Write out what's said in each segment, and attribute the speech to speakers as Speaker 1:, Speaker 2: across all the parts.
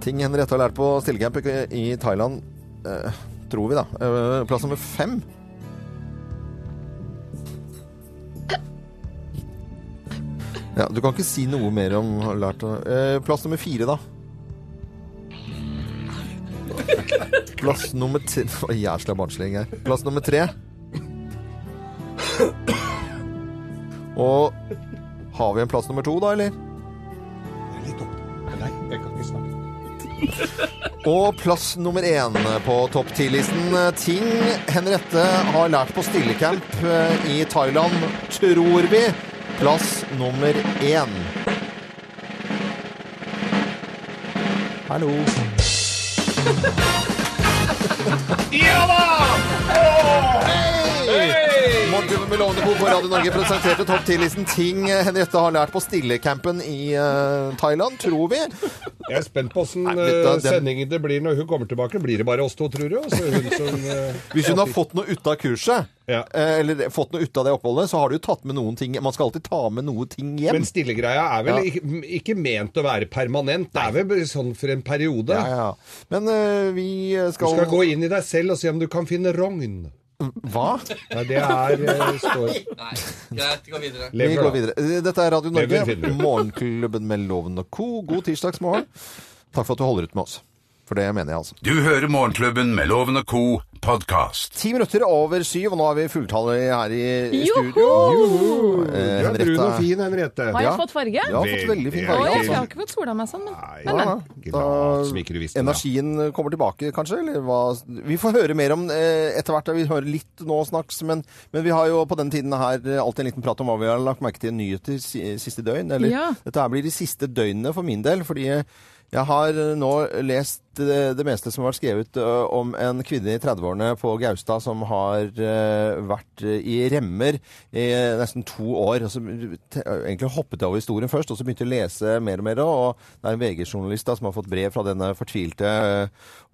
Speaker 1: Ting Henriette har lært på stillecamp i Thailand, eh, tror vi, da. Eh, plass nummer fem. Ja, du kan ikke si noe mer om har lært eh, Plass nummer fire, da. Plass nummer tre Oi, Jævla barnslig her. Plass nummer tre. Og har vi en plass nummer to, da, eller? Og plass nummer én på topp 10-listen. Ting Henriette har lært på stillecamp eh, i Thailand, tror vi. Plass nummer én. Hallo.
Speaker 2: Ja da!
Speaker 1: Hei! Morten Melonebo på Radio Norge presenterte topp 10-listen ting Henriette har lært på stillecampen i eh, Thailand, tror vi.
Speaker 2: Jeg er spent på åssen eh,
Speaker 1: Nei, dette- den-
Speaker 2: sendingen det blir når hun kommer tilbake. Blir det bare oss to, tror du? Altså, hun som, eh,
Speaker 1: Hvis hun har fått noe ut av kurset,
Speaker 2: Ja.
Speaker 1: eh, eller fått noe ut av det oppholdet, så har du jo tatt med noen ting. Man skal alltid ta med noe ting hjem.
Speaker 2: Men stillegreia er vel
Speaker 1: Ja.
Speaker 2: ikke, ikke ment å være permanent. Det er vel bare sånn for en periode.
Speaker 1: Ja, ja. Men eh, vi
Speaker 2: Du
Speaker 1: skal,
Speaker 2: skal gå inn i deg selv og se om du kan finne rogn.
Speaker 1: Hva?
Speaker 2: Nei, det er eh, står
Speaker 3: Nei, greit, vi går videre.
Speaker 1: Vi går
Speaker 2: Lever, da.
Speaker 1: videre. Eh, Dette er Radio Norge,
Speaker 2: Lever finner du.
Speaker 1: Morgenklubben med Loven og Co. God tirsdagsmorgen. Takk for at du holder ut med oss. For det mener jeg, altså.
Speaker 4: Du hører Morgenklubben med Loven og Co. podkast.
Speaker 1: Ti minutter over syv, og nå er vi fulltallige her i
Speaker 5: Joho!
Speaker 1: studio. Eh,
Speaker 2: Du er
Speaker 1: Henriette
Speaker 2: brun og
Speaker 1: er-
Speaker 2: fin, Henriette.
Speaker 5: Har jeg
Speaker 1: Ja.
Speaker 5: fått farge?
Speaker 1: Ja, fått veldig fin
Speaker 2: Veldig.
Speaker 5: Oi,
Speaker 1: farge.
Speaker 5: jeg
Speaker 1: altså.
Speaker 5: har ikke fått sola meg sånn, men
Speaker 2: Nei,
Speaker 5: men, men.
Speaker 2: ikke lat som ikke du visste det.
Speaker 1: energien kommer tilbake, kanskje? Eller hva? Vi får høre mer om eh, etter hvert. Vi hører litt nå snakks, men, men vi har jo på den tiden her eh, alltid en liten prat om hva vi har lagt merke til i nyheter si- siste døgn. Eller
Speaker 5: Ja.
Speaker 1: dette her blir de siste døgnene for min del, fordi jeg har eh, nå lest eh, det meste som har vært skrevet eh, om en kvinne i 30-årene på Gaustad som har eh, vært eh, i remmer i nesten to år. Og så te- egentlig hoppet jeg over historien først, og så begynte jeg å lese mer og mer. Og det er en VG-journalist da som har fått brev fra denne fortvilte eh,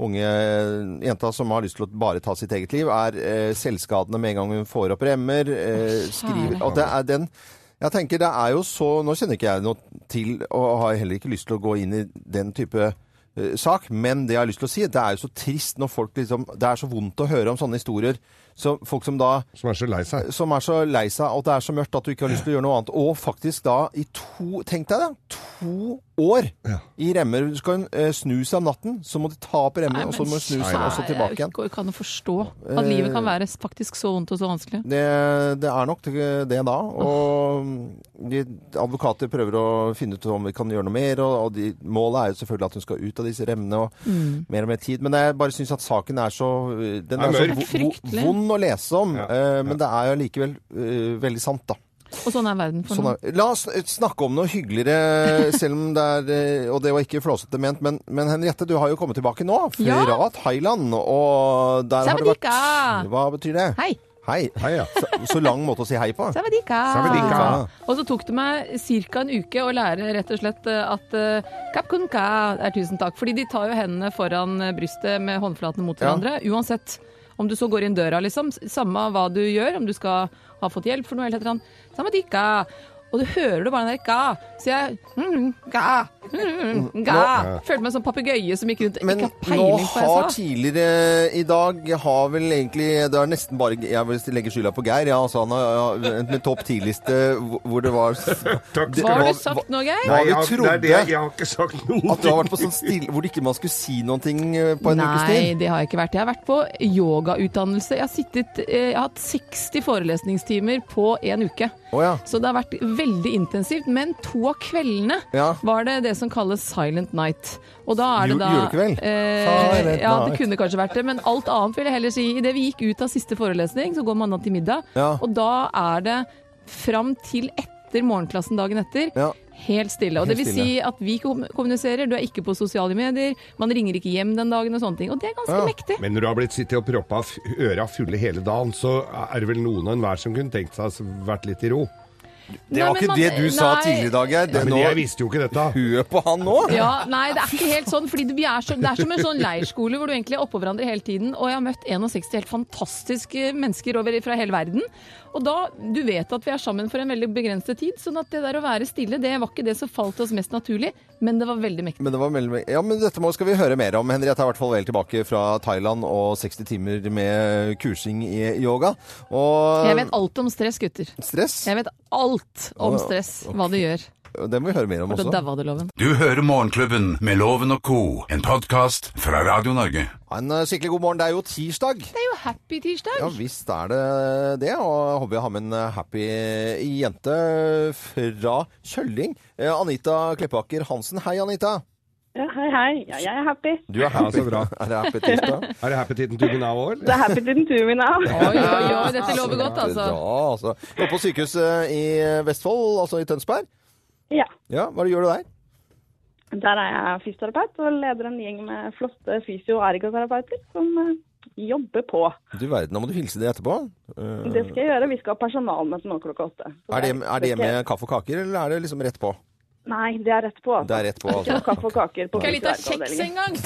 Speaker 1: unge eh, jenta som har lyst til å bare ta sitt eget liv. Er eh, selvskadende med en gang hun får opp remmer. eh, skriver, og det er den jeg tenker det er jo så Nå kjenner ikke jeg noe til, og har heller ikke lyst til å gå inn i den type eh, sak, men det jeg har lyst til å si, det er jo så trist når folk liksom Det er så vondt å høre om sånne historier. Så folk som da
Speaker 2: Som er så lei seg.
Speaker 1: som er så lei seg, og det er så mørkt at du ikke har lyst til å gjøre noe annet. Og faktisk da i to Tenk deg det! To år
Speaker 2: Ja.
Speaker 1: i remmer. Du skal eh, snu seg om natten, så må de ta opp
Speaker 5: Nei,
Speaker 1: remmen, og så
Speaker 5: men
Speaker 1: må du snu seg,
Speaker 5: sær,
Speaker 1: og så tilbake igjen. Eh,
Speaker 5: Jeg kan jo forstå at livet kan være faktisk så vondt og så vanskelig.
Speaker 1: Det, det er nok det da. Og de advokater prøver å finne ut om vi kan gjøre noe mer. Og, og de, målet er jo selvfølgelig at hun skal ut av disse remnene og
Speaker 5: Mm.
Speaker 1: mer og mer tid. Men jeg bare syns at saken er så Den er,
Speaker 2: er
Speaker 1: så
Speaker 2: mørk.
Speaker 1: vo- vo-
Speaker 5: Fryktelig.
Speaker 1: vond å lese om.
Speaker 2: Ja,
Speaker 1: eh, men det er jo allikevel eh, veldig sant, da.
Speaker 5: Og sånn er verden for
Speaker 1: Sånn
Speaker 5: noen.
Speaker 1: er, la oss snakke om noe hyggeligere, selv om det er eh, Og det var ikke flåsete ment, men, men Henriette, du har jo kommet tilbake nå fra
Speaker 5: Ja.
Speaker 1: Thailand. Og der har det vært
Speaker 5: Sawadika!
Speaker 1: Hva betyr det?
Speaker 5: Ah. Hei!
Speaker 1: Hei.
Speaker 2: Hei, ja.
Speaker 1: Så, så lang måte å si hei på.
Speaker 5: Savadika!
Speaker 2: Savadika.
Speaker 5: Og så tok det meg ca. en uke å lære rett og slett eh, at eh, kap kun ka er tusen takk. Fordi de tar jo hendene foran eh, brystet med håndflatene mot
Speaker 1: Ja.
Speaker 5: hverandre. Uansett om du så går inn døra, liksom. s- Samme hva du gjør, om du skal ha fått hjelp for noe eller et eller annet. Savadika! Og du hører du bare den der ka. Så jeg mm, ka, mm, ka. Følte meg som en papegøye som gikk rundt.
Speaker 1: Men
Speaker 5: ikke har
Speaker 1: nå
Speaker 5: peiling på hva
Speaker 1: har
Speaker 5: jeg sa.
Speaker 1: tidligere i dag har vel egentlig Det er nesten bare Jeg vil legge skylda på Geir. Ja, altså han har ja, en topp 10-liste hvor- hvor det var
Speaker 2: Takk
Speaker 1: Det-
Speaker 5: Hva har
Speaker 1: hva-
Speaker 5: du sagt nå, Geir?
Speaker 1: Hva vi
Speaker 2: jeg, det er det,
Speaker 1: trodde.
Speaker 2: jeg har ikke sagt noe.
Speaker 1: At du har vært på sånn stille Hvor ikke man skulle si noen ting eh, på en ukes
Speaker 5: Nei,
Speaker 1: tid.
Speaker 5: det har jeg ikke vært. Jeg har vært på yogautdannelse. Jeg har, sittet, eh, jeg har hatt 60 forelesningstimer på én uke.
Speaker 1: Å ja.
Speaker 5: Så det har vært veldig intensivt. Men to av kveldene
Speaker 1: Ja.
Speaker 5: var det det som kalles silent night. Og da er
Speaker 1: Ju-
Speaker 5: det da
Speaker 1: julekveld?
Speaker 5: Eh,
Speaker 1: Silent
Speaker 5: ja, det
Speaker 1: night.
Speaker 5: kunne kanskje vært det. Men alt annet vil jeg heller si. Idet vi gikk ut av siste forelesning, så går man da til middag.
Speaker 1: Ja.
Speaker 5: Og da er det fram til etter etter morgenklassen dagen etter.
Speaker 1: Ja.
Speaker 5: Helt stille. Og
Speaker 1: Helt
Speaker 5: det vil si at vi kom- kommuniserer, du er ikke på sosiale medier, man ringer ikke hjem den dagen og sånne ting. Og det er
Speaker 1: Ja.
Speaker 5: ganske mektig.
Speaker 2: Men når du har blitt sittet og proppa f- øra fulle hele dagen, så er det vel noen og enhver som kunne tenkt seg å vært litt i ro.
Speaker 5: Nei,
Speaker 1: Det var
Speaker 5: men
Speaker 1: ikke
Speaker 5: man-
Speaker 1: det du sa
Speaker 5: nei.
Speaker 1: tidligere i dag, Geir. Det
Speaker 2: Men
Speaker 1: nå
Speaker 2: jeg visste jo ikke dette.
Speaker 1: huet på han nå.
Speaker 5: Ja, nei, det er ikke helt sånn. Fordi vi er så, det er som en sånn leirskole hvor du egentlig er oppå hverandre hele tiden. Og jeg har møtt 61 helt fantastiske mennesker over fra hele verden. Og da, du vet at vi er sammen for en veldig begrenset tid, sånn at det der å være stille, det var ikke det som falt oss mest naturlig, men det var veldig mektig.
Speaker 1: Men det var veldig... Ja, men dette må, skal vi høre mer om. Henriette er i hvert fall vel tilbake fra Thailand og 60 timer med kursing i yoga. Og
Speaker 5: Jeg vet alt om stress, gutter.
Speaker 1: stress,
Speaker 5: Jeg vet alt om stress, hva det gjør.
Speaker 1: det må vi høre mer om
Speaker 5: Da
Speaker 1: også.
Speaker 5: daua det loven.
Speaker 4: Du hører Morgenklubben med Loven og Co., en podkast fra Radio Norge.
Speaker 1: Ha En eh, skikkelig god morgen. Det er jo tirsdag.
Speaker 5: Det er jo happy tirsdag!
Speaker 1: Ja visst er det det, og jeg håper jeg har med en eh, happy jente fra Kjølling. Eh, Anita Kleppaker Hansen. Hei, Anita.
Speaker 6: Ja, hei, hei. Ja, jeg er happy.
Speaker 1: Du er
Speaker 2: happy. Ja, så bra.
Speaker 1: Er det happy tirsdag?
Speaker 2: Er det happy-titten tuben av år?
Speaker 6: Det er happy to do me now.
Speaker 5: Oi, oi, oi, dette lover godt, altså.
Speaker 1: Ja, altså. Du er på sykehuset i Vestfold, altså i Tønsberg.
Speaker 6: Ja,
Speaker 1: Ja, Hva gjør du der?
Speaker 6: der er jeg fysioterapeut og leder en gjeng med flotte fysio- og ergoterapeuter som eh, jobber på.
Speaker 1: Du verden, da må du hilse det etterpå. Eh,
Speaker 6: Det skal jeg gjøre. Vi skal ha personalmøte nå klokka åtte. Så
Speaker 1: er, det, er det med kaffe og kaker, eller er det liksom rett på?
Speaker 6: Nei, det er rett på. Altså.
Speaker 1: Det er rett på,
Speaker 6: Ikke noe
Speaker 1: altså.
Speaker 6: kaffe og kaker på
Speaker 5: Skal jeg litt av kjeks
Speaker 6: fysioergoavdelingen.
Speaker 5: en gang?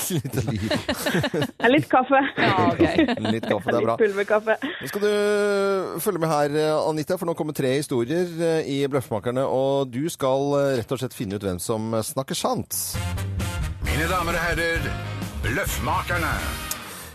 Speaker 6: Det er Litt kaffe.
Speaker 5: Ja, ok.
Speaker 1: Litt kaffe, det er bra.
Speaker 6: Litt pulverkaffe.
Speaker 1: Nå skal du eh, følge med her, Anita, for nå kommer tre historier eh, i Bløffmakerne. Og du skal eh, rett og slett finne ut hvem som eh, snakker sant.
Speaker 4: Mine damer og herrer, Løffmakerne.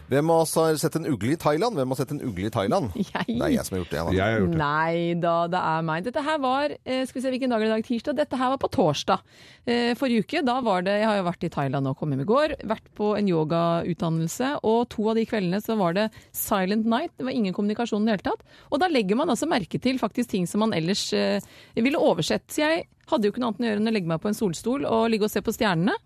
Speaker 1: Hvem av oss har sett en ugle i Thailand? Hvem har sett en ugle i Thailand? Det er
Speaker 5: Jeg.
Speaker 1: jeg som har gjort det. Anna.
Speaker 2: Jeg har gjort det.
Speaker 5: Nei da, det er meg. Dette her var eh, skal vi se hvilken dag er det i dag, tirsdag? Dette her var på torsdag eh, forrige uke. Da var det, Jeg har jo vært i Thailand og kom hjem i går. Vært på en yogautdannelse. Og to av de kveldene så var det silent night. Det var ingen kommunikasjon i det hele tatt. Og da legger man altså merke til faktisk ting som man ellers eh, ville oversett. Så jeg hadde jo ikke noe annet å gjøre enn å legge meg på en solstol og ligge og se på stjernene.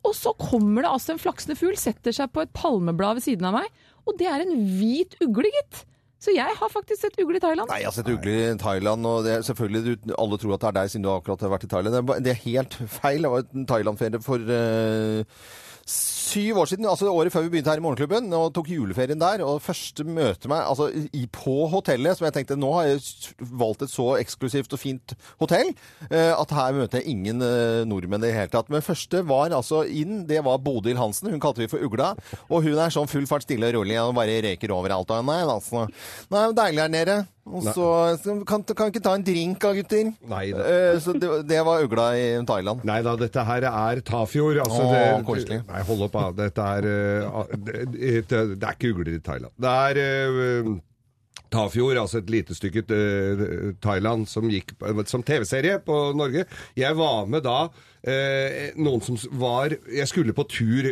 Speaker 5: Og så kommer det altså en flaksende fugl, setter seg på et palmeblad ved siden av meg, og det er en hvit ugle, gitt. Så jeg har faktisk sett ugle i Thailand.
Speaker 1: Nei, jeg har sett ugler i Thailand, og det er selvfølgelig du, alle tror at det er deg siden du akkurat har vært i Thailand. Det er, ba- det er helt feil. Det var en Thailand-ferie for eh, syv år siden, altså året før vi begynte her i Morgenklubben, og tok juleferien der. Og første møte meg altså, i, på hotellet, som jeg tenkte nå har jeg s- valgt et så eksklusivt og fint hotell, eh, at her møter jeg ingen eh, nordmenn i det hele tatt. Men første var altså inn, det var Bodil Hansen. Hun kalte vi for Ugla. Og hun er sånn full fart stille og rolig og bare reker overalt. Og nei, altså, nei, deilig her nede. Og så så kan, kan vi ikke ta en drink da, gutter?
Speaker 2: Nei da.
Speaker 1: Eh, så det, det var Ugla i Thailand.
Speaker 2: Nei da, dette her er Tafjord. Altså,
Speaker 1: Åh,
Speaker 2: det-
Speaker 1: koselig.
Speaker 2: Nei, hold opp, da. Dette er eh, det, det det er ikke ugler i Thailand. Det er eh, Tafjord, altså et lite stykke eh, Thailand som gikk på- som TV-serie på Norge. Jeg var med da eh, noen som var Jeg skulle på tur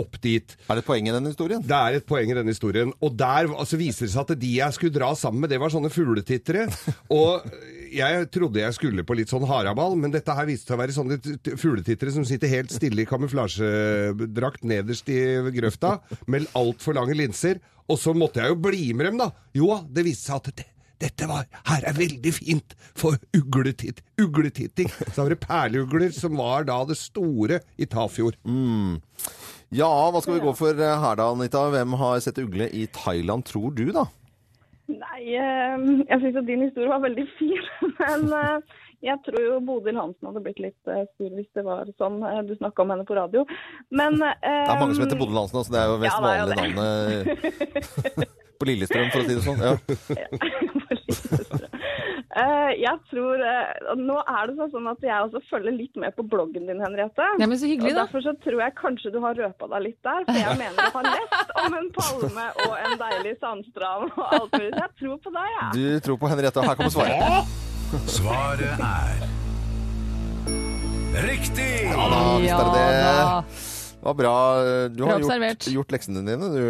Speaker 2: opp dit.
Speaker 1: Er det et poeng i den historien?
Speaker 2: Det er et poeng i denne historien. Og der altså, viser det seg at de jeg skulle dra sammen med, det var sånne fugletittere. Og jeg trodde jeg skulle på litt sånn haraball, men dette her viste seg å være sånne t- t- fugletittere som sitter helt stille i kamuflasjedrakt nederst i grøfta, med altfor lange linser. Og så måtte jeg jo bli med dem, da. Jo, det viste seg at det, dette var, her er veldig fint for ugletitt, ugletitting. Så var det perleugler som var da det store i Tafjord.
Speaker 1: Ja, hva skal vi gå for eh, her da, Anita? Hvem har sett ugle i Thailand, tror du da?
Speaker 6: Nei, eh, jeg syns jo din historie var veldig fin, men eh, jeg tror jo Bodil Hansen hadde blitt litt eh, sur hvis det var sånn eh, du snakka om henne på radio. Men
Speaker 1: Det er mange som heter Bodil Hansen, altså det er jo mest
Speaker 6: Um, Ja, det er jo
Speaker 1: vanlige navnet eh, på Lillestrøm, for å si det sånn. Ja.
Speaker 6: ehm, Eh, jeg tror eh, og Nå er det sånn at jeg også følger litt med på bloggen din, Henriette.
Speaker 5: Nei, men så hyggelig,
Speaker 6: og
Speaker 5: da.
Speaker 6: Derfor så tror jeg kanskje du har røpa deg litt der. For jeg mener du har lest om en palme og en deilig sandstrand og alt mulig. Så jeg tror på deg, jeg.
Speaker 1: Du tror på Henriette, og her kommer svaret.
Speaker 4: Svaret er Riktig!
Speaker 1: da, visst er det
Speaker 5: Ja,
Speaker 1: det. Det var bra. Du
Speaker 5: Bra
Speaker 1: har gjort,
Speaker 5: observert.
Speaker 1: gjort leksene dine, du,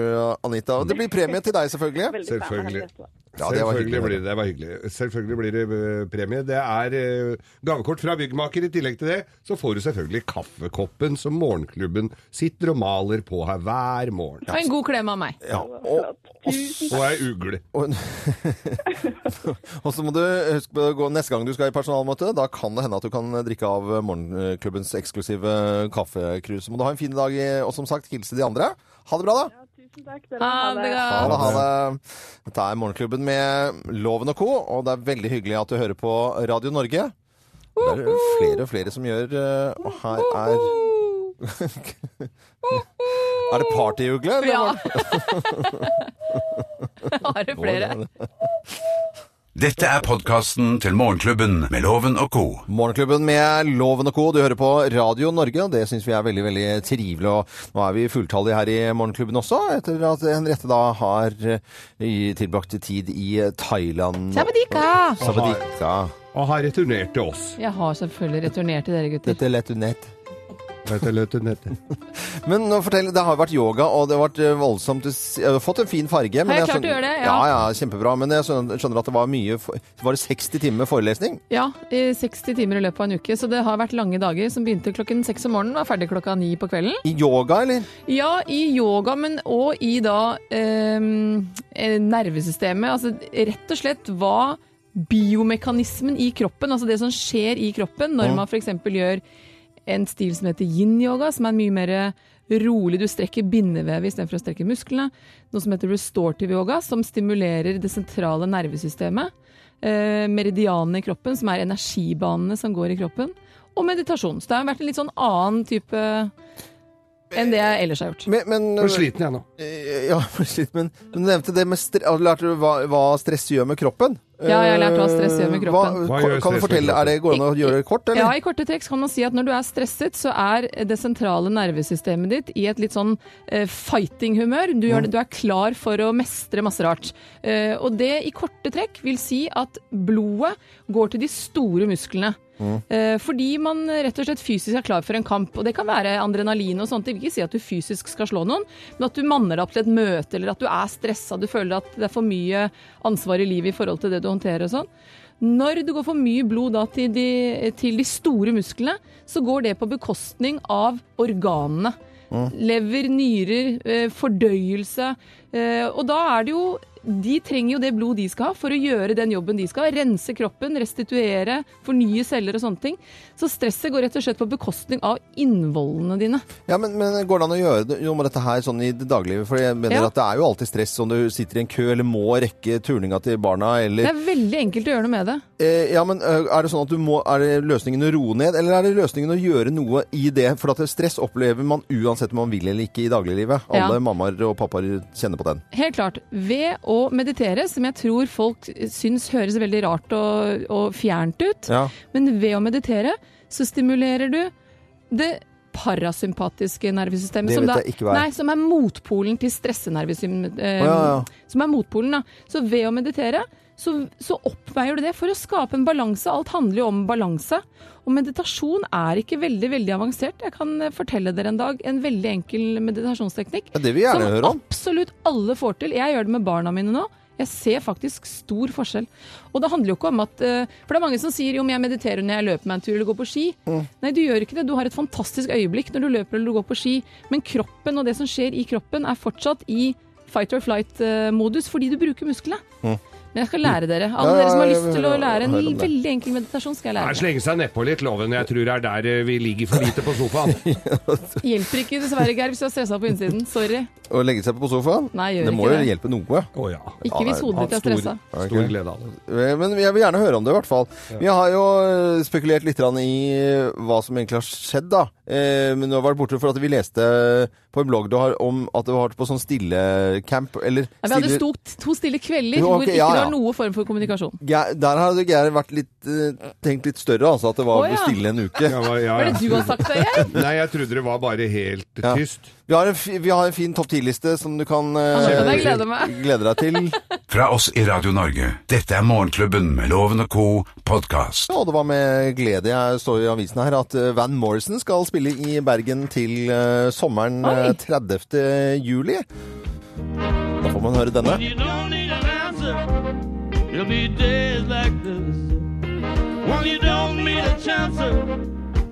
Speaker 1: Anita. Og det blir premie til deg, selvfølgelig.
Speaker 6: Veldig fan av
Speaker 2: selvfølgelig.
Speaker 6: Henriette.
Speaker 1: Ja, det var
Speaker 2: Selvfølgelig
Speaker 1: hyggelig.
Speaker 2: blir det, det var hyggelig. Selvfølgelig blir det eh, premie. Det er eh, gavekort fra byggmaker. I tillegg til det så får du selvfølgelig kaffekoppen som morgenklubben sitter og maler på her hver morgen.
Speaker 5: Og en god klem av meg.
Speaker 1: Ja, og,
Speaker 2: Og ei ugle.
Speaker 1: og, og så må du huske på å gå neste gang du skal i personalmøte. Da kan det hende at du kan drikke av morgenklubbens eksklusive kaffekrus. Så må du ha en fin dag, og som sagt, hilse de andre. Ha det bra, da.
Speaker 6: Tusen takk. Dere
Speaker 5: Ha
Speaker 6: må ha
Speaker 5: det
Speaker 6: det.
Speaker 1: Ha
Speaker 5: godt.
Speaker 1: det, ha det. Dette er Morgenklubben med Loven og co., og det er veldig hyggelig at du hører på Radio Norge. Det er flere og flere som gjør eh, Og her er Er det partyugle? eller
Speaker 5: Ja.
Speaker 1: var det-
Speaker 5: Har du flere?
Speaker 4: Dette er podkasten til Morgenklubben med Loven og co.
Speaker 1: Morgenklubben med Loven og Co. Du hører på Radio Norge, og det syns vi er veldig veldig trivelig. Og nå er vi fulltallige her i Morgenklubben også, etter at Henriette da har eh, i- tilbrakt tid i Thailand.
Speaker 5: Sabadika!
Speaker 1: Sabadika.
Speaker 2: Og har returnert til oss.
Speaker 5: Jeg har selvfølgelig returnert til dere, gutter.
Speaker 1: Dette er lett unett.
Speaker 2: Vet du, Løte Nette?
Speaker 1: Men nå fortell, det har vært yoga, og det har vært eh, voldsomt. Du s- jeg har fått en fin farge. men
Speaker 5: Har jeg klart
Speaker 1: skjønner-
Speaker 5: å gjøre det?
Speaker 1: Ja.
Speaker 5: Ja.
Speaker 1: ja, kjempebra. Men jeg skjønner, skjønner at det var mye for- Var det 60 timer med forelesning?
Speaker 5: Ja, i 60 timer i løpet av en uke, så det har vært lange dager som begynte klokken seks om morgenen og er ferdig klokka ni på kvelden.
Speaker 1: I yoga, eller?
Speaker 5: Ja, i yoga, men òg i da ehm, eh, nervesystemet. Altså rett og slett hva biomekanismen i kroppen, altså det som skjer i kroppen når man f.eks. gjør en stil som heter yin-yoga, som er mye mer rolig. Du strekker bindevevet istedenfor å strekke musklene. Noe som heter restorative yoga, som stimulerer det sentrale nervesystemet. Eh, meridianene i kroppen, som er energibanene som går i kroppen. Og meditasjon. Så det har vært en litt sånn annen type enn det jeg ellers har gjort.
Speaker 1: Men, men,
Speaker 2: Nå er jeg sliten jeg nå.
Speaker 1: Eh, Ja, for shit, men men du nevnte det med stre har du lært hva, hva stress gjør med kroppen.
Speaker 5: Ja, jeg har lært hva stress gjør med
Speaker 1: Eh,
Speaker 5: kroppen.
Speaker 2: Hva
Speaker 1: kan,
Speaker 2: gjør
Speaker 1: kan du
Speaker 2: stress med
Speaker 1: fortelle, er det går det an å gjøre det kort, eller?
Speaker 5: Ja, I korte trekk kan man si at når du er stresset, så er det sentrale nervesystemet ditt i et litt sånn eh, fighting-humør. Du, gjør det- du er klar for å mestre masse rart. Eh, og det i korte trekk vil si at blodet går til de store musklene. Eh, fordi man rett og slett fysisk er klar for en kamp. Og det kan være adrenalin og sånt. Det vil ikke si at du fysisk skal slå noen, men at du manner deg opp til et møte, eller at du er stressa, du føler at det er for mye ansvar i livet i forhold til det du håndterer og sånn. Når det går for mye blod da til de, til de store musklene, så går det på bekostning av organene. Lever, nyrer, eh, fordøyelse. Eh, Og da er det jo De trenger jo det blodet de skal ha for å gjøre den jobben de skal. Rense kroppen, restituere, fornye celler og sånne ting. Så stresset går rett og slett på bekostning av innvollene dine.
Speaker 1: Ja, men, men går det an å gjøre det- noe med dette her sånn i det daglige? For jeg mener
Speaker 5: Ja.
Speaker 1: at det er jo alltid stress om du sitter i en kø eller må rekke turninga til barna,
Speaker 5: Det
Speaker 1: eller
Speaker 5: er veldig enkelt å gjøre noe med det.
Speaker 1: eh, Ja, men eh, er det sånn at du må Er det løsningen å roe ned, eller er det løsningen å gjøre noe i det? For at det- stress opplever man uansett om man vil eller ikke i dagliglivet.
Speaker 5: Ja.
Speaker 1: Alle mammaer og pappaer kjenner på den.
Speaker 5: Helt klart. Ved å meditere, som jeg tror folk syns høres veldig rart og, og fjernt ut,
Speaker 1: Ja.
Speaker 5: Men ved å meditere så stimulerer du det parasympatiske nervesystemet.
Speaker 1: Det
Speaker 5: som
Speaker 1: vet
Speaker 5: da-
Speaker 1: jeg ikke hva er.
Speaker 5: Nei, som er motpolen til stressenervesystemet. Eh,
Speaker 1: Å, ja, ja.
Speaker 5: Som er motpolen, da. Så ved å meditere så, så oppveier du det for å skape en balanse. Alt handler jo om balanse. Og meditasjon er ikke veldig veldig avansert. Jeg kan eh, fortelle dere en dag en veldig enkel meditasjonsteknikk.
Speaker 1: Ja, det vil jeg gjerne høre om.
Speaker 5: Som absolutt alle får til. Jeg gjør det med barna mine nå. Jeg ser faktisk stor forskjell. Og det handler jo ikke om at eh, For det er mange som sier jo, men jeg mediterer når jeg løper meg en tur eller går på ski.
Speaker 1: Mm.
Speaker 5: Nei, du gjør ikke det. Du har et fantastisk øyeblikk når du løper eller du går på ski, men kroppen og det som skjer i kroppen, er fortsatt i fight or flight-modus fordi du bruker musklene. Men jeg skal lære dere. Alle
Speaker 1: Mm. Ja, ja,
Speaker 5: dere som har
Speaker 1: ja,
Speaker 5: lyst
Speaker 1: ja,
Speaker 5: til å
Speaker 1: ja,
Speaker 5: lære en
Speaker 1: hør om det.
Speaker 5: veldig enkel meditasjon, skal jeg
Speaker 2: Nei,
Speaker 5: lære dere.
Speaker 2: Slenge seg nedpå litt, Loven. Jeg tror det er der eh, vi ligger for lite på sofaen.
Speaker 5: Hjelper ikke dessverre, Geir, hvis du er stressa på innsiden. Sorry.
Speaker 1: Å legge seg på sofaen?
Speaker 5: Nei, gjør
Speaker 1: det må
Speaker 5: ikke
Speaker 1: jo
Speaker 5: det.
Speaker 1: hjelpe noe.
Speaker 2: Å ja.
Speaker 5: Ikke hvis hodet ditt er
Speaker 2: stor,
Speaker 5: stressa.
Speaker 2: stor glede av det.
Speaker 1: Eh, Men jeg vil gjerne høre om det, i hvert fall. Vi har jo eh, spekulert litt grann i eh, hva som egentlig har skjedd, da. Eh, Men nå var det borte for at vi leste på en blogg du har om at du har vært på sånn stillecamp, eller
Speaker 5: Nei, Vi hadde
Speaker 1: stille-
Speaker 5: stort, to stille kvelder
Speaker 1: Jo,
Speaker 5: hvor
Speaker 1: ok,
Speaker 5: ikke
Speaker 1: ja,
Speaker 5: det
Speaker 1: ja.
Speaker 5: var noe form for kommunikasjon.
Speaker 1: Geir- Der har du, Geir vært litt, eh, tenkt litt større, altså. At det var
Speaker 5: Å, ja.
Speaker 1: stille en uke.
Speaker 2: Ja, ja,
Speaker 5: Hva er
Speaker 2: ja.
Speaker 5: det du har sagt, da, Geir?
Speaker 2: Nei, jeg trodde det var bare helt
Speaker 1: Ja.
Speaker 2: tyst.
Speaker 1: Vi har en, fi- vi har en fin topp ti-liste som du kan
Speaker 5: Ja,
Speaker 1: eh,
Speaker 5: den jeg gleder meg.
Speaker 1: glede deg til.
Speaker 4: Fra oss i Radio Norge. Dette er Morgenklubben med Loven og co. podkast.
Speaker 1: Ja, og det var med glede jeg så i avisen her at eh, Van Morrison skal spille i Bergen til eh, sommeren
Speaker 5: Oi.
Speaker 1: eh, 30. juli. Da får man høre denne.
Speaker 7: There'll be days like this when you don't meet a chance.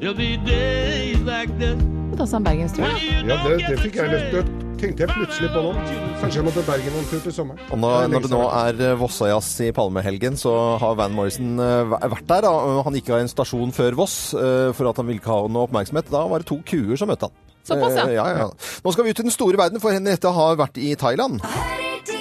Speaker 7: There'll be days like this
Speaker 5: Da sa han bergenstrøm.
Speaker 7: when
Speaker 5: da.
Speaker 7: you
Speaker 2: Ja,
Speaker 7: don't
Speaker 2: det,
Speaker 7: get
Speaker 2: det
Speaker 7: the
Speaker 2: fikk jeg lyst til.
Speaker 7: chance.
Speaker 2: Tenkte jeg plutselig på nå. Kanskje jeg må til Bergen en tur til sommeren.
Speaker 1: Og nå, når det nå er eh, Vossajazz i Palmehelgen, så har Van Morrison eh, væ- vært der. Da. Og Han gikk av en stasjon før Voss eh, for at han ville ikke ha noe oppmerksomhet. Da var det to kuer som møtte han.
Speaker 5: Såpass, ja.
Speaker 1: Eh, ja, ja. Nå skal vi ut i den store verden, for Henriette har vært i Thailand.
Speaker 8: Og hører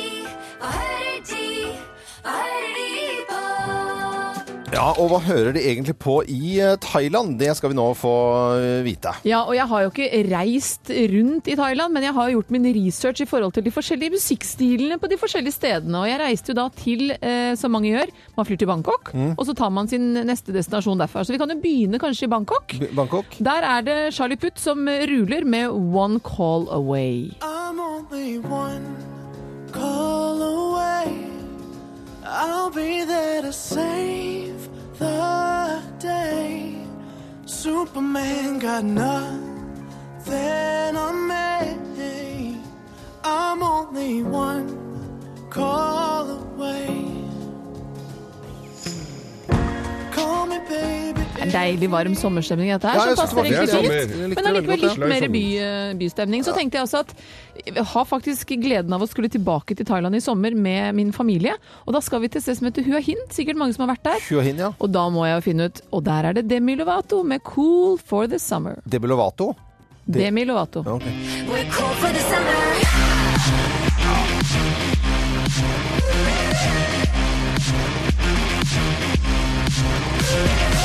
Speaker 8: er de, og hører de, og hører de på.
Speaker 1: Ja, Og hva hører de egentlig på i eh, Thailand? Det skal vi nå få eh, vite.
Speaker 5: Ja, og jeg har jo ikke reist rundt i Thailand, men jeg har gjort min research i forhold til de forskjellige musikkstilene på de forskjellige stedene. Og jeg reiste jo da til, eh, som mange gjør, man flyr til Bangkok,
Speaker 1: Mm.
Speaker 5: og så tar man sin neste destinasjon derfra. Så vi kan jo begynne kanskje i Bangkok.
Speaker 1: B- Bangkok.
Speaker 5: Der er det Charlie Puth som ruler med One Call Away.
Speaker 9: I'm only one call away. I'll be there to save the day. Superman got nothing on me. I'm only one call away. Call me, baby.
Speaker 5: Det er deilig varm sommerstemning i dette her,
Speaker 1: Ja, jeg
Speaker 5: som
Speaker 1: synes det
Speaker 5: passer
Speaker 1: var
Speaker 2: veldig
Speaker 5: egentlig
Speaker 2: deilig.
Speaker 5: litt.
Speaker 1: likte
Speaker 2: Jeg
Speaker 5: Men
Speaker 1: det veldig
Speaker 5: allikevel
Speaker 1: godt,
Speaker 5: litt
Speaker 2: ja.
Speaker 5: mer by, eh, bystemning. Så tenkte jeg også at jeg har faktisk gleden av å skulle tilbake til Thailand i sommer med min familie. Og da skal vi til et sted som heter Hua Hin, sikkert mange som har vært der.
Speaker 1: Hua Hin, ja.
Speaker 5: Og da må jeg jo finne ut Og der er det Demi Lovato med 'Cool for the Summer'.
Speaker 1: Demi Lovato.
Speaker 5: Demi Lovato.
Speaker 1: Ja, ok.
Speaker 8: We're cool for the summer.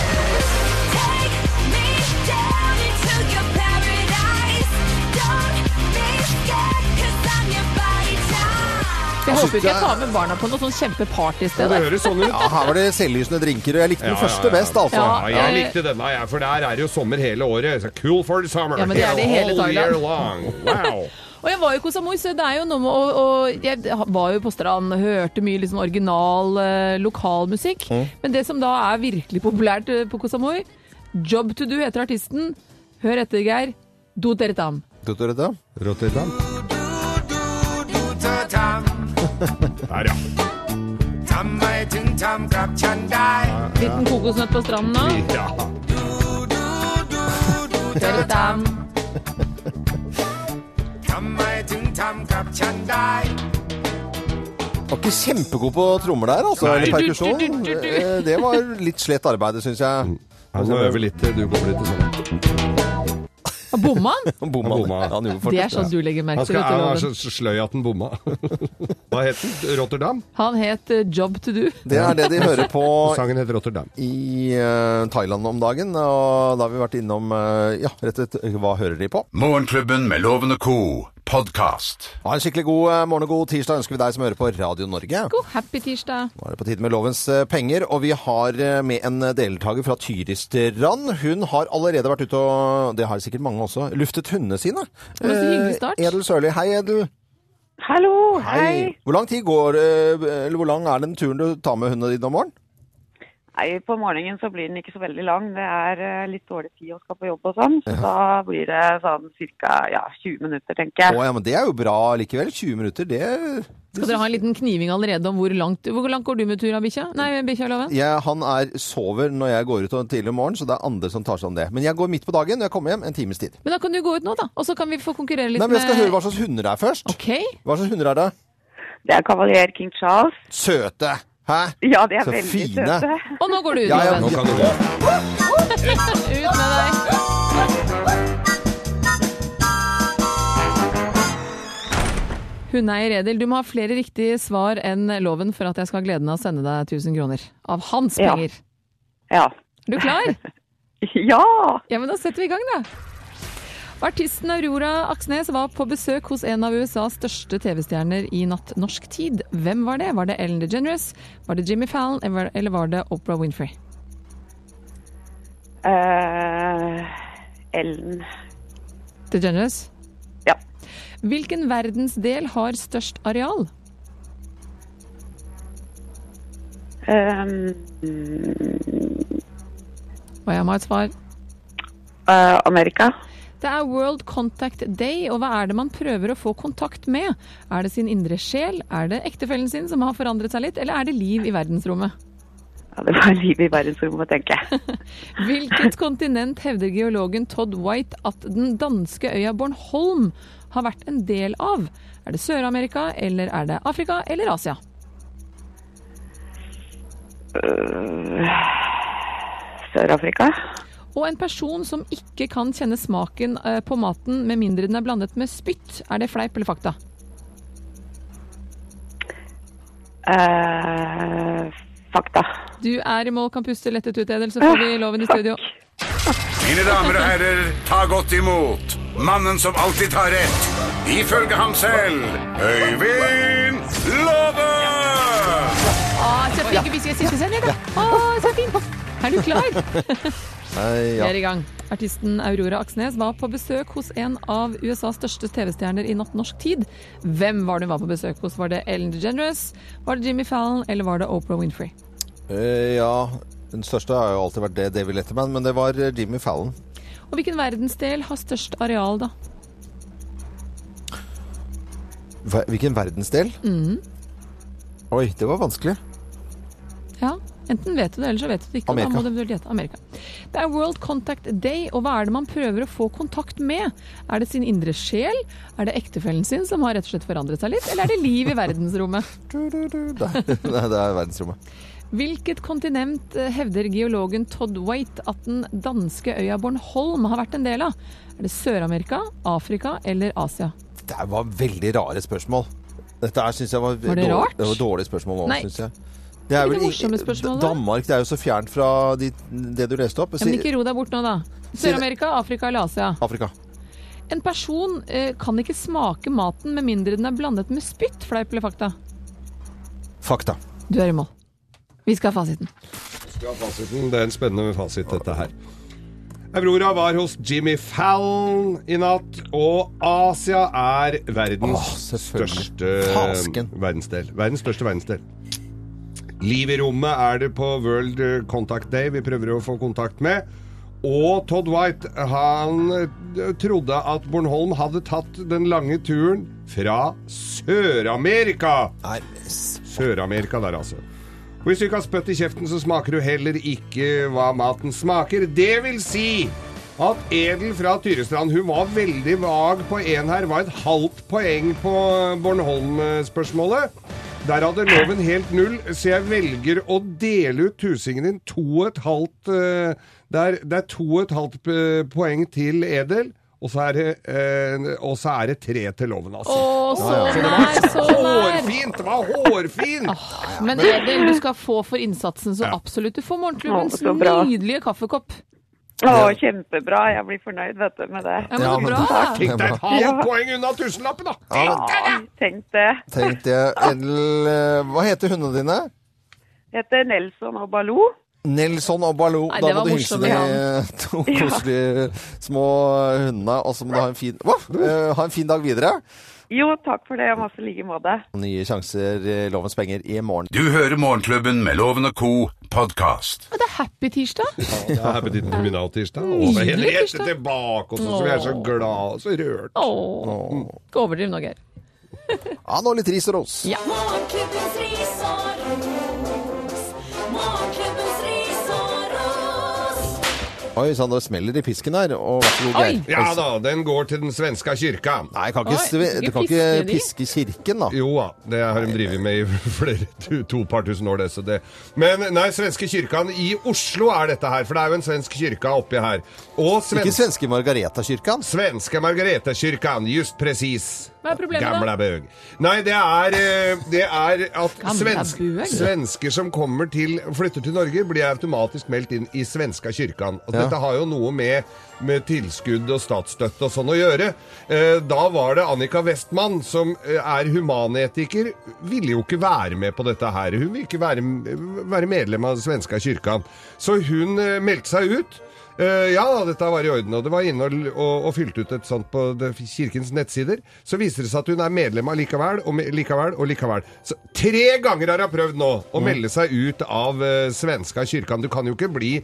Speaker 8: Take me down into your paradise. Don't be scared, 'cause I'm your body type.
Speaker 5: Jeg
Speaker 1: Altså,
Speaker 5: håper ikke jeg
Speaker 1: det er-
Speaker 5: tar med barna på noe sånn kjempepartysted.
Speaker 2: Det
Speaker 5: der.
Speaker 2: høres sånn ut.
Speaker 1: Ja, her var det selvlysende drinker, og jeg likte den første best, altså.
Speaker 5: Ja,
Speaker 2: Ja, jeg
Speaker 5: eh,
Speaker 2: likte denne, jeg, for der er jo sommer hele året. Så cool for the summer.
Speaker 5: Ja, men det er det i hele
Speaker 2: All year
Speaker 5: Thailand.
Speaker 2: long. Wow.
Speaker 5: Og jeg var jo i Koh Samui, så det er jo noe med å og Jeg var jo på strand, hørte mye liksom original eh, lokalmusikk. Men det som da er virkelig populært eh, på Koh Samui, Job to do heter artisten. Hør etter, Geir. Do Teretam.
Speaker 1: Du tør det?
Speaker 2: Rotterdam. Der, ja.
Speaker 9: ทำไมถึงทำกับฉันได้
Speaker 5: Liten kokosnøtt på stranden nå.
Speaker 2: ja.
Speaker 5: Teretam.
Speaker 9: ทำไมถึงทำกับฉันได้
Speaker 1: Var ikke kjempegod på trommer der, altså.
Speaker 2: Nei.
Speaker 1: Eller perkusjon.
Speaker 5: Du, du, du, du, du.
Speaker 1: Eh, Det var litt slett arbeid, syns jeg.
Speaker 2: Han må øve litt til du kommer litt til sommeren.
Speaker 5: Bomma han?
Speaker 1: Han bomma.
Speaker 2: Han bomma.
Speaker 1: Han gjorde
Speaker 5: Det
Speaker 1: faktisk
Speaker 5: er sånn du legger merke
Speaker 2: Han,
Speaker 5: til
Speaker 2: skal, han er
Speaker 5: dette.
Speaker 2: så så sløy at han bomma. Hva het den? Rotterdam?
Speaker 5: Han het eh, Job to do.
Speaker 1: Det er det de hører på
Speaker 2: Sangen heter Rotterdam.
Speaker 1: i eh, Thailand om dagen. Og da har vi vært innom eh, Ja, rett og slett hva hører de på?
Speaker 4: Morgenklubben med Loven og Co. Podcast.
Speaker 1: Ha en skikkelig god eh, morgen og god tirsdag ønsker vi deg som hører på Radio Norge.
Speaker 5: God happy tirsdag.
Speaker 1: Nå er det på tide med lovens eh, penger, og vi har eh, med en deltaker fra Tyristrand. Hun har allerede vært ute og det har sikkert mange også luftet hundene sine.
Speaker 5: Det var så hyggelig start.
Speaker 1: Eh, Edel Sørli, hei Edel.
Speaker 6: Hallo, hei.
Speaker 1: Hvor lang tid går eh, eller hvor lang er den turen du tar med hundene dine om morgenen?
Speaker 10: Nei, på morgenen så blir den ikke så veldig lang. Det er eh, litt dårlig tid å skal på jobb og sånn. Så da blir det sånn ca. Ja, 20 minutter,
Speaker 1: Å
Speaker 10: tenker jeg.
Speaker 1: ja, men det er jo bra likevel. 20 minutter, det
Speaker 5: Skal dere ha en liten kniving allerede om hvor langt Hvor langt går du med tur av bikkja? Nei, bikkja Loven?
Speaker 1: jeg, Han er sover når jeg går ut om tidlig om morgenen, så det er andre som tar seg om det. Men jeg går midt på dagen når jeg kommer hjem, en times tid.
Speaker 5: Men da kan du gå ut nå, da. Og så kan vi få konkurrere litt
Speaker 1: Nei, men Jeg skal
Speaker 5: med-
Speaker 1: høre hva slags hunder det er først.
Speaker 5: OK.
Speaker 1: Hva slags hunder er det?
Speaker 10: Det er kavalier King Charles.
Speaker 1: Søte! Hæ?
Speaker 10: Ja, de er
Speaker 1: Så
Speaker 10: veldig
Speaker 1: fine.
Speaker 10: søte.
Speaker 5: Og nå går du ut,
Speaker 1: Ja, ja,
Speaker 5: Loven.
Speaker 2: Nå kan du gå.
Speaker 5: Ut med deg. Hundeeier Edel, du må ha flere riktige svar enn loven for at jeg skal ha gleden av å sende deg 1000 kroner. Av hans
Speaker 10: Ja.
Speaker 5: penger.
Speaker 10: Ja.
Speaker 5: Er du klar?
Speaker 10: ja.
Speaker 5: Ja, men da setter vi i gang, da. Artisten Aurora Aksnes var på besøk hos en av USAs største TV-stjerner i natt norsk tid. Hvem var det? Var det Ellen DeGeneres? Var det Jimmy Fallon? eller- Eller var det Oprah Winfrey?
Speaker 10: Eh, Ellen.
Speaker 5: DeGeneres?
Speaker 10: Ja.
Speaker 5: Hvilken verdensdel har størst areal?
Speaker 10: Um,
Speaker 5: Og jeg må ha et svar.
Speaker 10: eh, Amerika.
Speaker 5: Det er World Contact Day, og hva er det man prøver å få kontakt med? Er det sin indre sjel? Er det ektefellen sin som har forandret seg litt, eller er det liv i verdensrommet?
Speaker 10: Ja, det var livet i verdensrommet, tenker jeg.
Speaker 5: Hvilket kontinent hevder geologen Todd White at den danske øya Bornholm har vært en del av? Er det Sør-Amerika, eller er det Afrika, eller Asia?
Speaker 10: Øh, Sør-Afrika.
Speaker 5: Og en person som ikke kan kjenne smaken eh, på maten med mindre den er blandet med spytt, er det fleip eller fakta?
Speaker 10: Eh, fakta.
Speaker 5: Du er i mål, kan puste lettet ut, Edel, så får vi loven i studio.
Speaker 4: Mine damer og herrer, ta godt imot mannen som alltid tar rett, ifølge ham selv, Øyvind Låve!
Speaker 5: Å, Ah, så flink vi skal sitte sammen, da. Å, så fint. Er du klar?
Speaker 1: Nei,
Speaker 5: Vi
Speaker 1: ja.
Speaker 5: er i gang. Artisten Aurora Aksnes var på besøk hos en av USAs største TV-stjerner i natt norsk tid. Hvem var det hun var på besøk hos? Var det Ellen DeGeneres, var det Jimmy Fallon eller var det Oprah Winfrey?
Speaker 1: Eh, ja. Den største har jo alltid vært det, David Letterman, men det var eh, Jimmy Fallon.
Speaker 5: Og hvilken verdensdel har størst areal, da?
Speaker 1: Hva- Hvilken verdensdel?
Speaker 5: Mhm.
Speaker 1: Oi, det var vanskelig.
Speaker 5: Ja, enten vet du det, eller så vet du det ikke. og Da
Speaker 1: Amerika.
Speaker 5: må du eventuelt gjette Amerika. Det er World Contact Day, og hva er det man prøver å få kontakt med? Er det sin indre sjel? Er det ektefellen sin som har rett og slett forandret seg litt? Eller er det liv i verdensrommet?
Speaker 1: Nei, nei, det er verdensrommet.
Speaker 5: Hvilket kontinent eh, hevder geologen Todd White at den danske øya Bornholm har vært en del av? Er det Sør-Amerika, Afrika eller Asia?
Speaker 1: Det var veldig rare spørsmål. Dette her syns jeg var,
Speaker 5: Var det
Speaker 1: dårlig-
Speaker 5: rart?
Speaker 1: Det var dårlige spørsmål òg,
Speaker 5: Nei.
Speaker 1: syns jeg. Det er
Speaker 5: Ikke
Speaker 1: vel i-
Speaker 5: morsomme spørsmål, da?
Speaker 1: Danmark det er jo så fjernt fra de, det du leste opp.
Speaker 5: Ja, Men ikke ro deg bort nå, da. Sør-Amerika, Afrika eller Asia?
Speaker 1: Afrika.
Speaker 5: En person eh, kan ikke smake maten med mindre den er blandet med spytt, fleip eller fakta?
Speaker 1: Fakta.
Speaker 5: Du er i mål. Vi skal ha fasiten.
Speaker 2: Skal ha fasiten. Det er en spennende fasit, dette her. Aurora var hos Jimmy Fallon i natt, og Asia er verdens største
Speaker 1: Fasken.
Speaker 2: verdensdel. Verdens største verdensdel. Liv i rommet er det på World Contact Day vi prøver å få kontakt med. Og Todd White, han eh, trodde at Bornholm hadde tatt den lange turen fra Sør-Amerika. Sør-Amerika der, altså. Og Hvis du ikke har spytt i kjeften, så smaker du heller ikke hva maten smaker. Det vil si at Edel fra Tyrestrand, hun var veldig vag på én her, var et halvt poeng på Bornholm-spørsmålet. Der hadde loven helt null, så jeg velger å dele ut tusingen din to og et halvt eh, Det er, det er to og et halvt eh, poeng til Edel, og så er det, eh, og så er det tre til loven, altså.
Speaker 5: Å, sånn så nær, så nær!
Speaker 2: Hårfint! Det var hårfint!
Speaker 5: Men Edel, du skal få for innsatsen, så
Speaker 2: Ja.
Speaker 5: absolutt. Du får morgenklubbens
Speaker 10: Å, så bra.
Speaker 5: nydelige kaffekopp.
Speaker 10: Å, kjempebra. Jeg blir fornøyd, vet du, med det.
Speaker 5: Ja, men så bra.
Speaker 2: Tenk deg et halvt
Speaker 10: Ja.
Speaker 2: poeng unna tusenlappen, da!
Speaker 10: Ja, tenk det.
Speaker 1: Tenk det. Edel, eh, hva heter hundene dine?
Speaker 10: Jeg heter Nelson og Baloo.
Speaker 1: Nelson og Baloo.
Speaker 10: Nei,
Speaker 1: Da må
Speaker 10: det var
Speaker 1: du hilse
Speaker 10: morsomt,
Speaker 1: de
Speaker 10: ja.
Speaker 1: eh, to koselige små hundene, og så må du ha en fin, Voff! Eh, ha en fin dag videre.
Speaker 10: Jo, takk for det, og masse like måte.
Speaker 1: Nye sjanser i Lovens penger i morgen.
Speaker 4: Du hører Morgenklubben med Loven og Co. podkast.
Speaker 5: Og det er happy tirsdag.
Speaker 2: Det er appetitten altså. på min av tirsdag. Og
Speaker 5: Nydelig
Speaker 2: det er Henriette
Speaker 5: tirsdag.
Speaker 2: Mm. tilbake også, som jeg er så glad og så rørt.
Speaker 5: Åh, Ikke overdriv nå, Geir.
Speaker 1: Ja, nå litt ris og ros.
Speaker 5: Ja.
Speaker 8: Morgenklubbens ris og ros. Morgenklubbens ris og ros.
Speaker 1: Oi sann, det smeller i pisken her. Og vær så god,
Speaker 5: Oi.
Speaker 1: Geir.
Speaker 2: Ja da, den går til den svenske kirka.
Speaker 1: Nei, kan ikke,
Speaker 5: Oi,
Speaker 1: sve-
Speaker 5: ikke
Speaker 1: du kan ikke
Speaker 5: piske
Speaker 1: piske kirken, da.
Speaker 2: Jo da, det har de drevet med i flere to, to par tusen år, det. Så det. Men nei, svenske kirka i Oslo er dette her, for det er jo en svensk kirke oppi her. Og
Speaker 1: Ikke
Speaker 2: svenske,
Speaker 1: svenske Margareta-kirken.
Speaker 2: svenske Margaretekyrkan, just presis.
Speaker 5: Hva er problemet, da?
Speaker 2: Gamla bøg. Nei, det er, eh, det er at
Speaker 5: Gamla
Speaker 2: svensk,
Speaker 5: bøg?
Speaker 2: svensker som kommer til, flytter til Norge, blir automatisk meldt inn i svenska kyrkan. Altså,
Speaker 1: Ja.
Speaker 2: Dette har jo noe med, med tilskudd og statsstøtte og sånn å gjøre. Eh, da var det Annika Westman, som eh, er humanetiker, ville jo ikke være med på dette her. Hun ville ikke være, være medlem av svenska kyrkan. Så hun eh, meldte seg ut. Eh, ja, da, dette var i orden, og det var inne og, og, og fylte ut et sånt på det, kirkens nettsider. Så viser det seg at hun er medlem allikevel, og me- likevel, og likevel. Så tre ganger har hun prøvd nå
Speaker 1: Mm.
Speaker 2: å melde seg ut av eh, svenska kyrkan. Du kan jo ikke bli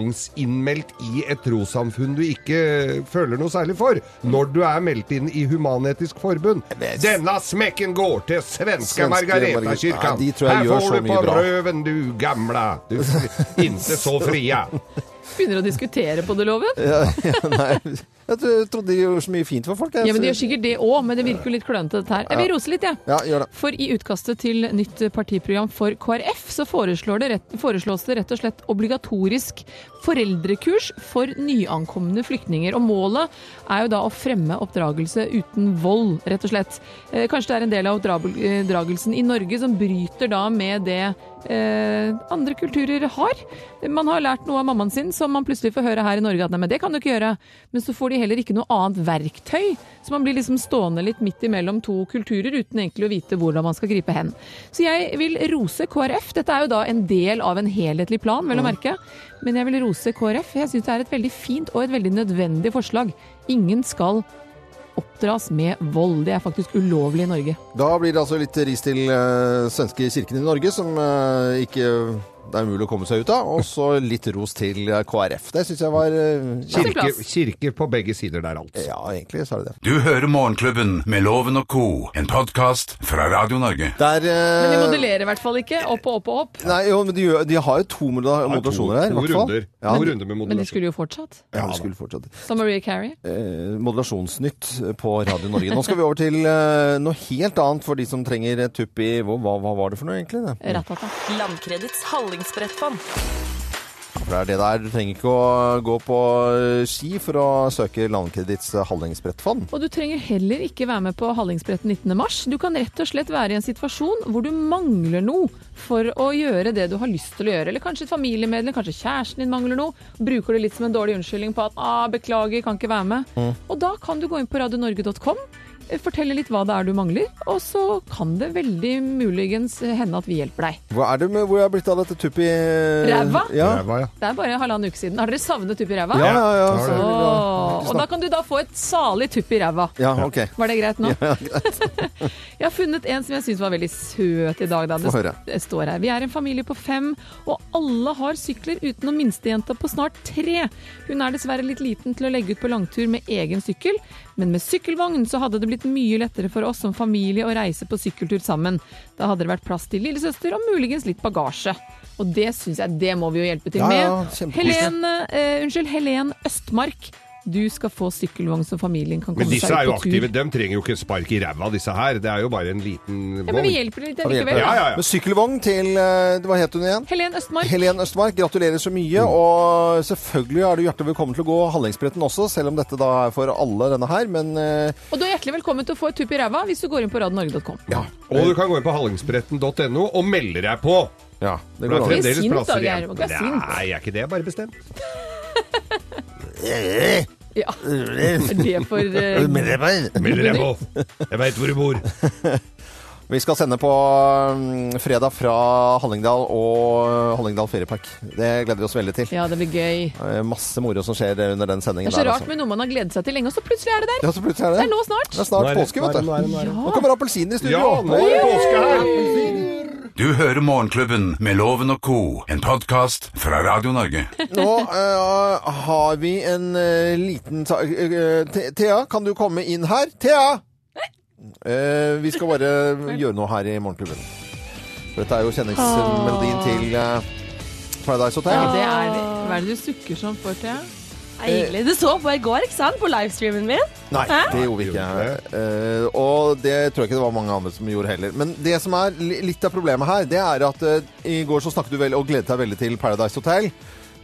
Speaker 2: tvangsinnmeldt i et trossamfunn du ikke eh, føler noe særlig for, når du er meldt inn i Human-Etisk Forbund. Denne smekken går til svenska
Speaker 1: Svenske Margareta-
Speaker 2: Margareta-kyrkan!
Speaker 1: Nei, de tror jeg gjør så
Speaker 2: Her
Speaker 1: mye
Speaker 2: får du
Speaker 1: bra.
Speaker 2: på røven, du gamla! Du, inte så fria!
Speaker 5: Begynner å diskutere på det, Loven.
Speaker 1: Ja, ja, nei, jeg tro- trodde de gjorde så mye fint for folk. jeg.
Speaker 5: Ja, men De gjør sikkert det òg, men det virker jo litt klønete, dette her. Jeg vil rose litt, jeg.
Speaker 1: Ja, gjør det.
Speaker 5: For i utkastet til nytt partiprogram for KrF så foreslår det rett, foreslås det rett og slett obligatorisk foreldrekurs for nyankomne flyktninger. Og målet er jo da å fremme oppdragelse uten vold, rett og slett. Eh, kanskje det er en del av oppdra- eh, oppdragelsen i Norge som bryter da med det eh, andre kulturer har. Man har lært noe av mammaen sin som man plutselig får høre her i Norge at nei, men det kan du ikke gjøre. Men så får de heller ikke noe annet verktøy. Så man blir liksom stående litt midt imellom to kulturer uten egentlig å vite hvordan man skal gripe hen. Så jeg vil rose KrF. Dette er jo da en del av en helhetlig plan, vel å merke. Men jeg vil rose KrF. Jeg syns det er et veldig fint og et veldig nødvendig forslag. Ingen skal oppdras med vold. Det er faktisk ulovlig i Norge.
Speaker 1: Da blir det altså litt ris til eh, svenske kirken i Norge, som eh, ikke det er umulig å komme seg ut av. Og så litt ros til eh, KrF. Det syns jeg var eh,
Speaker 2: Kirke, kirke på begge sider der, altså.
Speaker 1: Ja, egentlig så er det det.
Speaker 4: Du hører Morgenklubben med Loven og Co., en podkast fra Radio Norge.
Speaker 1: Der, eh,
Speaker 5: Men de modellerer i hvert fall ikke. Opp og opp og opp.
Speaker 1: Nei, jo, men de, gjør- de har jo to moder- moderasjoner her. i
Speaker 2: to
Speaker 1: hvert fall.
Speaker 2: runder.
Speaker 1: Ja,
Speaker 2: To runder med
Speaker 5: Men de
Speaker 2: moderasjon.
Speaker 5: skulle jo fortsatt.
Speaker 1: ja, de skulle fortsatt.
Speaker 5: Som Maria Carey.
Speaker 1: eh, Moderasjonsnytt på Radio Norge. Nå skal vi over til eh, noe helt annet for de som trenger et tupp i hva, hva hva var det for noe, egentlig? Det?
Speaker 5: Ratata.
Speaker 11: Landkredits hallingsbrettfond.
Speaker 1: For det er det der. Du trenger ikke å gå på eh, ski for å søke Landkreditts eh, hallingsbrettfond.
Speaker 5: Og du trenger heller ikke være med på Hallingsbretten 19. mars. Du kan rett og slett være i en situasjon hvor du mangler noe for å gjøre det du har lyst til å gjøre. Eller kanskje et familiemedlem, kanskje kjæresten din mangler noe. Bruker det litt som en dårlig unnskyldning på at ah, 'beklager, kan ikke være med'.
Speaker 1: Mm.
Speaker 5: Og da kan du gå inn på radionorge.com, eh, fortelle litt hva det er du mangler, og så kan det veldig muligens hende at vi hjelper deg.
Speaker 1: Hva er det med hvor jeg har blitt av dette tupp i eh,
Speaker 5: Ræva?
Speaker 1: Ja.
Speaker 2: Ræva, ja.
Speaker 5: Det er bare halvannen uke siden. Har dere savnet tupp i ræva?
Speaker 1: Ja, ja, ja.
Speaker 2: Ja,
Speaker 1: så
Speaker 2: det
Speaker 1: vil jeg-
Speaker 5: Åh, og da kan du da få et salig tupp i ræva.
Speaker 1: ja, ok.
Speaker 5: Var det greit nå? jeg har funnet en som jeg syns var veldig søt i dag. Da.
Speaker 1: Få høre.
Speaker 5: det står her. Vi er en familie på fem, og alle har sykler utenom minstejenta på snart tre. Hun er dessverre litt liten til å legge ut på langtur med egen sykkel, men med sykkelvogn så hadde det blitt mye lettere for oss som familie å reise på sykkeltur sammen. Da hadde det vært plass til lillesøster og muligens litt bagasje. Og det syns jeg det må vi jo hjelpe til
Speaker 1: Ja,
Speaker 5: med.
Speaker 1: ja, kjempekoselig.
Speaker 5: Helene, eh, unnskyld, Helen Østmark. Du skal få sykkelvogn som familien kan komme
Speaker 2: Men
Speaker 5: seg
Speaker 2: disse er
Speaker 5: ut
Speaker 2: jo
Speaker 5: på tur.
Speaker 2: aktive. De trenger jo ikke spark i ræva, disse her. Det er jo bare en liten
Speaker 5: Ja, men vi hjelper litt
Speaker 1: vi hjelper
Speaker 5: likevel.
Speaker 2: Ja, ja, ja.
Speaker 1: Med sykkelvogn til eh, Hva het hun igjen?
Speaker 5: Helen Østmark.
Speaker 1: Helen Østmark, gratulerer så mye.
Speaker 2: Mm.
Speaker 1: Og selvfølgelig er du hjertelig velkommen til å gå Hallingsbretten også, selv om dette da er for alle denne her. Men eh,
Speaker 5: Og du er hjertelig velkommen til å få et tupp i ræva hvis du går inn på radionorge.com.
Speaker 2: Ja. Og du kan gå inn på hallingsbretten.no og melde deg på.
Speaker 1: ja, det
Speaker 2: For
Speaker 1: går
Speaker 2: det er
Speaker 1: an.
Speaker 5: Ikke
Speaker 2: fremdeles
Speaker 5: sint, da,
Speaker 2: plasser
Speaker 5: Geir.
Speaker 2: igjen.
Speaker 5: Må ikke være sint.
Speaker 2: Nei, er ikke det bare bestemt?
Speaker 5: Ja. Er det for eh,
Speaker 2: Meld deg på! Jeg veit hvor du bor.
Speaker 1: Vi skal sende på mm, fredag fra Hallingdal og Hallingdal feriepark. Det gleder vi oss veldig til.
Speaker 5: Ja, det blir gøy.
Speaker 1: Eh, Masse moro som skjer under den
Speaker 5: Det
Speaker 1: sendingen
Speaker 5: er så
Speaker 1: der. altså.
Speaker 5: rart med noe man har gledet seg til lenge, og så plutselig er det der.
Speaker 1: Ja, så plutselig er det.
Speaker 5: Det er nå snart.
Speaker 1: Det er snart
Speaker 2: Nå er det-
Speaker 1: påske,
Speaker 2: nå er
Speaker 1: vet
Speaker 2: det-
Speaker 1: du.
Speaker 2: nå er det- nå er det.
Speaker 1: Nå kommer appelsiner i studio.
Speaker 2: Ja, nå er det påske her!
Speaker 4: Du hører Morgenklubben med Loven og Co., en podkast fra Radio Norge.
Speaker 1: Nå eh, har vi en eh, liten ta eh, Te- Thea, kan du komme inn her? Thea! Eh, vi skal bare gjøre noe her i Morgenklubben. For dette er jo kjenningsmelodien til eh, Paradise Hotel.
Speaker 5: Ja, det er det. Hva er det du sukker sånn for, Thea?
Speaker 1: Eh.
Speaker 11: Egentlig. Du så på i går, ikke sant? På livestreamen min.
Speaker 1: Nei, det gjorde vi ikke. Eh, og det tror jeg ikke det var mange andre som gjorde heller. Men det som er li- litt av problemet her, det er at eh, i går så snakket du vel og gledet deg veldig til Paradise Hotel.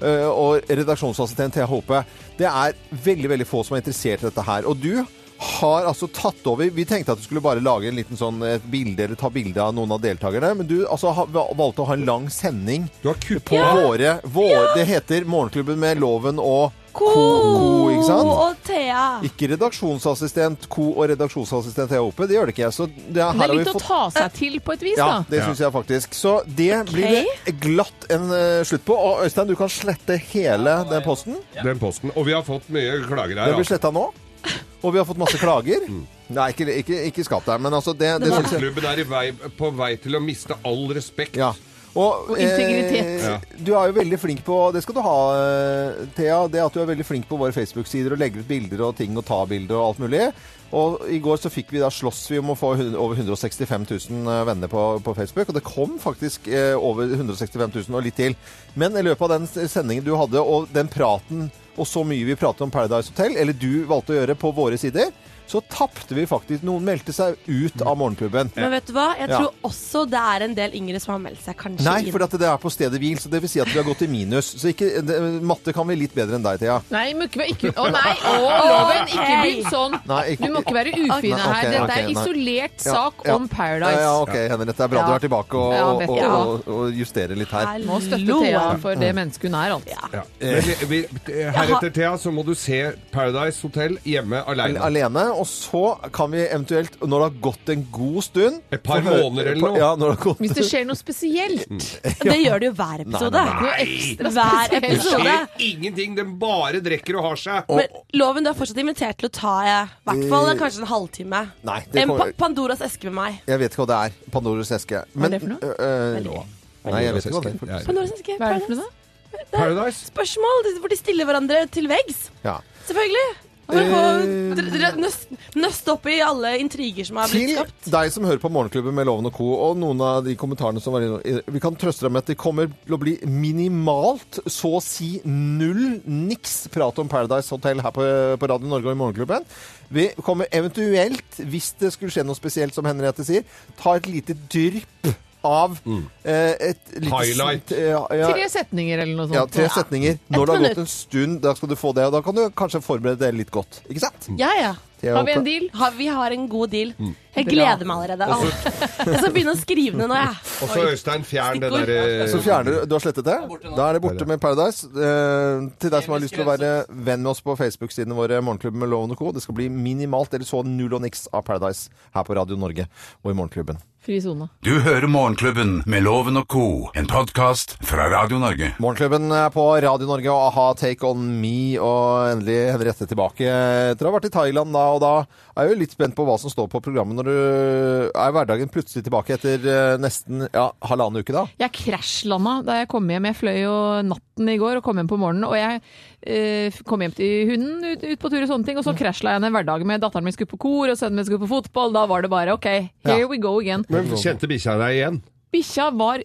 Speaker 1: eh, og redaksjonsassistent Thea Håpe. Det er veldig, veldig få som er interessert i dette her. Og du har altså tatt over Vi tenkte at du skulle bare lage en liten sånn et bilde eller ta bilde av noen av deltakerne, men du altså, ha, valgte å ha en lang sending
Speaker 2: Du har kuppa
Speaker 1: på våre, våre Det heter Morgenklubben med Loven og
Speaker 11: Co,
Speaker 1: Co, ikke sant?
Speaker 11: og Thea ja.
Speaker 1: Ikke redaksjonsassistent, co- og redaksjonsassistent er oppe. Det gjør det ikke jeg. Så det, her
Speaker 5: Det
Speaker 1: har
Speaker 5: er
Speaker 1: vi
Speaker 5: litt å
Speaker 1: fått-
Speaker 5: ta seg til på et vis,
Speaker 1: ja,
Speaker 5: da.
Speaker 1: det syns jeg faktisk. Så det blir det glatt en eh, slutt på. Og Øystein, du kan slette hele den posten.
Speaker 2: Den posten. Og vi har fått mye klager her.
Speaker 1: Den blir
Speaker 2: altså.
Speaker 1: sletta nå. Og vi har fått masse klager. Nei, ikke, ikke, ikke skap deg, men altså det, det, synes jeg-
Speaker 2: Sportsklubben er i vei, på vei til å miste all respekt.
Speaker 1: Og,
Speaker 2: Og integritet.
Speaker 1: eh,
Speaker 2: Ja.
Speaker 1: du er jo veldig flink på Det skal du ha, eh, Thea. Det at du er veldig flink på våre Facebook-sider og legger ut bilder og ting og ta bilder og alt mulig. Og i går så fikk vi da slåss vi om å få hun- over 165 000 eh, venner på, på Facebook. Og det kom faktisk eh, over 165 000 og litt til. Men i løpet av den s- sendingen du hadde, og den praten og så mye vi pratet om Paradise Hotel, eller du valgte å gjøre på våre sider, så tapte vi faktisk. Noen meldte seg ut av morgenklubben.
Speaker 11: Men vet du hva? Jeg
Speaker 1: Ja.
Speaker 11: tror også det er en del yngre som har meldt seg kanskje
Speaker 1: Nei,
Speaker 11: inn.
Speaker 1: for at det er på stedet hvil, så det vil si at vi har gått i minus. Så ikke, det, matte kan vi litt bedre enn deg, Thea.
Speaker 5: Nei, må ikke være ikke, Å nei, å, loven, ikke
Speaker 11: Ok.
Speaker 5: bli sånn.
Speaker 1: Nei, ikke-
Speaker 5: du må ikke være
Speaker 1: Nei,
Speaker 5: ufin
Speaker 1: ok,
Speaker 5: her. Dette er
Speaker 1: ok, nei.
Speaker 5: isolert
Speaker 1: Ja,
Speaker 5: sak
Speaker 1: ja.
Speaker 5: om Paradise.
Speaker 1: Ja, ja, ok, Henriette. Det er bra
Speaker 5: Ja.
Speaker 1: du er tilbake og,
Speaker 5: Ja,
Speaker 1: og,
Speaker 5: vet
Speaker 1: og,
Speaker 5: jeg.
Speaker 1: og, justerer litt her.
Speaker 5: Må støtte Thea for det mennesket hun er, altså.
Speaker 1: Eh.
Speaker 2: Ja. Men vi- vi- Heretter, Thea, så må du se Paradise Hotel hjemme aleine.
Speaker 1: Alene, og så kan vi eventuelt, når det har gått en god stund Et
Speaker 2: par måneder eller noe.
Speaker 1: Ja, når det har gått
Speaker 5: Hvis det skjer noe spesielt.
Speaker 1: Mm.
Speaker 11: Det gjør det jo hver episode.
Speaker 1: Nei,
Speaker 5: nei, nei.
Speaker 11: Noe ekstra Hver
Speaker 2: Det
Speaker 11: episode.
Speaker 2: skjer ingenting, den bare drikker og har seg.
Speaker 11: Men loven, du er fortsatt invitert til å ta i hvert fall
Speaker 1: Eh,
Speaker 11: kanskje en halvtime.
Speaker 1: Nei, det
Speaker 11: En pa
Speaker 1: kommer
Speaker 11: Pandoras eske med meg.
Speaker 1: Jeg vet ikke hva det er. Pandoras eske.
Speaker 11: Hva er det for noe?
Speaker 1: øh, øh, Nei, jeg vet ikke hva det er. for-
Speaker 11: Pandoras eske.
Speaker 5: Hva er det for noe, da?
Speaker 2: Paradise?
Speaker 11: Spørsmål de- hvor de stiller hverandre til veggs.
Speaker 1: Ja.
Speaker 11: Selvfølgelig. For å
Speaker 1: Eh.
Speaker 11: få dr- dr- nøst- nøste opp i alle intriger som har blitt
Speaker 1: Til
Speaker 11: skapt.
Speaker 1: deg som hører på Morgenklubben med Loven og Co. og noen av de kommentarene som var inne Vi kan trøste deg med at det kommer til å bli minimalt, så å si null, niks prat om Paradise Hotel her på, på Radio Norge og i Morgenklubben. Vi kommer eventuelt, hvis det skulle skje noe spesielt, som Henriette sier, ta et lite drypp av eh, et lite
Speaker 2: Highlight.
Speaker 1: snitt, eh, ja,
Speaker 5: Tre setninger eller noe sånt.
Speaker 1: ja, tre setninger. Når det har
Speaker 11: minutt.
Speaker 1: gått en stund, da skal du få det. Og da kan du kanskje forberede deg litt godt. Ikke sant?
Speaker 11: Ja, ja.
Speaker 1: Thea Har vi en og-
Speaker 11: deal? vi har en god deal.
Speaker 1: Mm.
Speaker 11: Jeg
Speaker 5: Bra.
Speaker 11: gleder meg allerede. Jeg skal begynne å skrive ned nå, jeg.
Speaker 2: Og så Øystein, fjern eh, det
Speaker 11: Stikkord.
Speaker 2: derre
Speaker 1: Så fjerner du Du har slettet det? Da er det borte med Paradise. Eh, til deg som har lyst til å være venn med oss på Facebook-sidene våre, Morgenklubben med Loven og Co. Det skal bli minimalt eller så null og niks av Paradise her på Radio Norge og i Morgenklubben.
Speaker 5: Fri sone.
Speaker 4: Du hører Morgenklubben med Loven og Co., en podkast fra Radio Norge.
Speaker 1: Morgenklubben er på Radio Norge og a-ha, Take On Me og endelig Henriette tilbake etter å ha vært i Thailand da, og da er jeg jo litt spent på hva som står på programmet når du er hverdagen plutselig tilbake etter eh, nesten ja, halvannen uke da.
Speaker 5: Jeg krasjlanda da jeg kom hjem. Jeg fløy jo natten i går og kom hjem på morgenen. Og jeg eh, kom hjem til hunden ut, ut på tur og sånne ting, og så krasjla jeg ned hverdagen med datteren min skulle på kor, og sønnen min skulle på fotball. Da var det bare OK, here
Speaker 2: Ja.
Speaker 5: we go again.
Speaker 2: Men kjente bikkja deg igjen?
Speaker 5: Bikkja var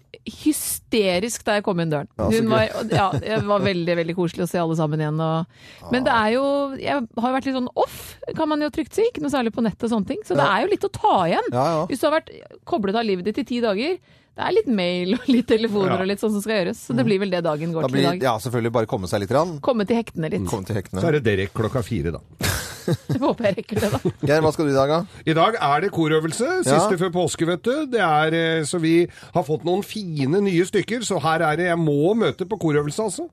Speaker 5: hysterisk da jeg kom inn døren.
Speaker 2: så
Speaker 5: Hun var,
Speaker 2: gøy.
Speaker 5: og- ja, det var veldig veldig koselig å se alle sammen igjen. Og,
Speaker 1: Ah.
Speaker 5: men det er jo Jeg har jo vært litt sånn off, kan man jo trygt si. Ikke noe særlig på nettet og sånne ting. Så det er jo litt å ta igjen.
Speaker 1: Ja, ja.
Speaker 5: Hvis du har vært koblet av livet ditt i ti dager, det er litt mail og litt telefoner
Speaker 1: Ja.
Speaker 5: og litt sånn som skal gjøres. Så det blir vel det dagen
Speaker 1: Mm.
Speaker 5: går
Speaker 1: Da
Speaker 5: til i
Speaker 1: blir,
Speaker 5: dag.
Speaker 1: ja, Mm. selvfølgelig bare komme seg litt. Rann.
Speaker 5: Komme til hektene litt.
Speaker 1: Komme til hektene.
Speaker 2: Så er det Derek klokka fire, da.
Speaker 5: Jeg håper jeg rekker det, da.
Speaker 1: Geir, hva skal du i dag, da?
Speaker 2: I dag er det korøvelse, siste
Speaker 1: Ja.
Speaker 2: før påske, vet du. Det er, eh, så vi har fått noen fine nye stykker, så her er det Jeg må møte på korøvelse, altså.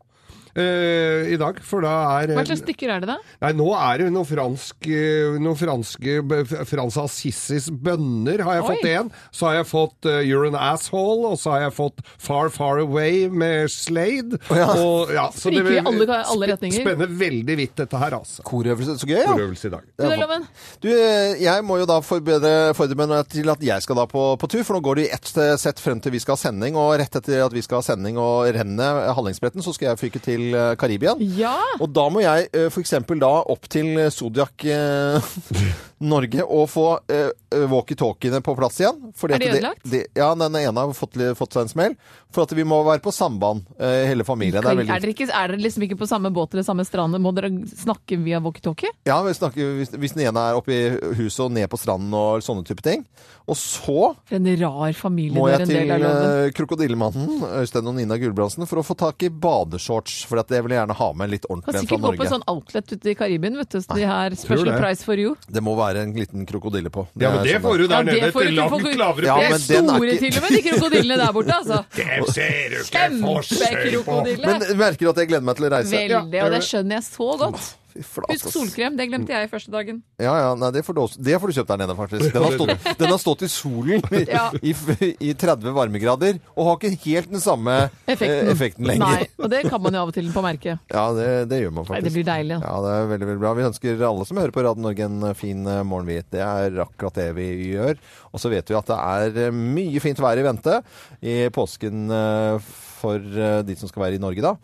Speaker 2: eh, I dag, for da er eh,
Speaker 5: Hva slags stykker er det, da?
Speaker 2: Nei, nå er det noen franske, noen eh, franske Frans Assisis bønner har jeg
Speaker 5: Oi.
Speaker 2: fått igjen. Så har jeg fått eh, You're an Asshole, og så har jeg fått Far Far Away med Slade. Og, ja, så det
Speaker 5: Spriker i
Speaker 2: vil
Speaker 5: alle- alle retninger.
Speaker 2: spenne veldig vidt dette her, altså.
Speaker 1: Korøvelse, så gøy, ja.
Speaker 2: Korøvelse i dag.
Speaker 5: Du da, Loven?
Speaker 1: Du, eh, jeg må jo da forberede, forberede meg til at jeg skal da på, på tur, for nå går det i ett sett frem til vi skal ha sending, og rett etter at vi skal ha sending og renne Hallingsbretten, så skal jeg fyke til eh, Karibien.
Speaker 5: Ja!
Speaker 1: Og da må jeg eh, for eksempel da opp til Zodiac eh, Norge og få eh, walkie-talkiene på plass igjen. fordi
Speaker 5: Er de
Speaker 1: at
Speaker 5: ødelagt?
Speaker 1: Det, ja, den ene har fått, fått seg en smell. For at vi må være på samband, eh, hele familien. Det
Speaker 5: Er
Speaker 1: er veldig
Speaker 5: dere, ikke, er dere liksom ikke på samme båt eller samme strand? Må dere snakke via walkietalkie?
Speaker 1: Ja, vi snakker, hvis, hvis den ene er oppe i huset og ned på stranden og sånne type ting. Og så
Speaker 5: For en rar familie
Speaker 1: må
Speaker 5: du er
Speaker 1: jeg
Speaker 5: en
Speaker 1: til
Speaker 5: del av, Loven.
Speaker 1: eh, Krokodillemannen, Øystein og Nina Gulbrandsen, for å få tak i badeshorts. For at jeg vil gjerne ha med litt
Speaker 5: Kan
Speaker 1: ordentlig en fra
Speaker 5: sikkert gå på
Speaker 1: Norge.
Speaker 5: en sånn outlet ute i Karibien, vet du. Så de har special
Speaker 1: det.
Speaker 5: price for you.
Speaker 1: Det må være en liten krokodille på.
Speaker 2: Ja, men det får du der
Speaker 5: Ja, det
Speaker 2: nede
Speaker 5: får du
Speaker 2: til
Speaker 5: ikke
Speaker 2: langt
Speaker 5: få-
Speaker 2: lavere
Speaker 1: Ja, men
Speaker 2: pris.
Speaker 1: den er
Speaker 5: Store
Speaker 1: ikke-
Speaker 5: til og med, de krokodillene der borte, altså.
Speaker 2: Dem ser du ikke
Speaker 5: Kjempe
Speaker 2: forskjell på!
Speaker 5: krokodille.
Speaker 1: eh, Men jeg merker at jeg gleder meg til å reise.
Speaker 5: Veldig, og det skjønner jeg så godt.
Speaker 1: Fy flate,
Speaker 5: Husk
Speaker 1: ass.
Speaker 5: solkrem, det glemte jeg første dagen.
Speaker 1: Ja, ja, nei, det får, du også, det får du kjøpt der nede, faktisk. Den har stått, den har stått i solen i,
Speaker 5: Ja.
Speaker 1: i, f- i 30 varmegrader og har ikke helt den samme eh,
Speaker 5: Effekten.
Speaker 1: effekten lenger.
Speaker 5: Nei, og det kan man jo av og til på merket.
Speaker 1: Ja, det, det gjør man
Speaker 5: Nei,
Speaker 1: faktisk.
Speaker 5: det blir deilig. altså. da.
Speaker 1: Ja, det er veldig, veldig bra. Vi ønsker alle som hører på Radio Norge en fin eh, morgen, vi. Det er akkurat det vi gjør. Og så vet vi at det er eh, mye fint vær i vente i påsken eh, for eh, de som skal være i Norge da.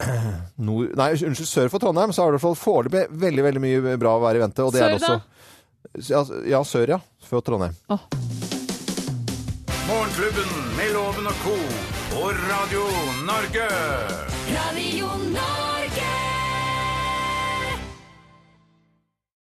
Speaker 1: Nord, nei, unnskyld, sør for Trondheim så er det i hvert fall foreløpig veldig, veldig mye bra vær i vente. Og det
Speaker 5: Sør,
Speaker 1: er det
Speaker 5: da?
Speaker 1: også, ja, ja, sør, ja. Før Trondheim.
Speaker 4: Morgenklubben med Loven og co. og Radio Norge.
Speaker 8: Radio Norge.